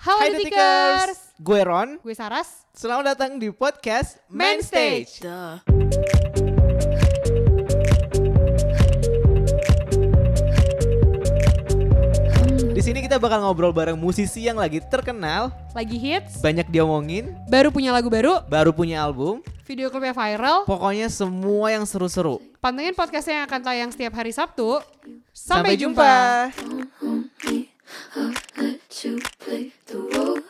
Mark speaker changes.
Speaker 1: Halo
Speaker 2: Hai
Speaker 1: Detikers.
Speaker 2: Detikers, gue Ron.
Speaker 1: Gue Saras.
Speaker 2: Selamat datang di podcast
Speaker 1: Main
Speaker 2: Main
Speaker 1: Stage.
Speaker 2: Stage. Di sini kita bakal ngobrol bareng musisi yang lagi terkenal,
Speaker 1: Lagi hits,
Speaker 2: banyak diomongin,
Speaker 1: baru punya lagu baru,
Speaker 2: baru punya album.
Speaker 1: video klipnya viral.
Speaker 2: Pokoknya semua yang seru-seru.
Speaker 1: Pantengin podcastnya yang akan tayang setiap hari Sabtu. Sampai,
Speaker 2: Sampai,
Speaker 1: jumpa.
Speaker 2: jumpa.
Speaker 3: Don't want me, I'll let you play the role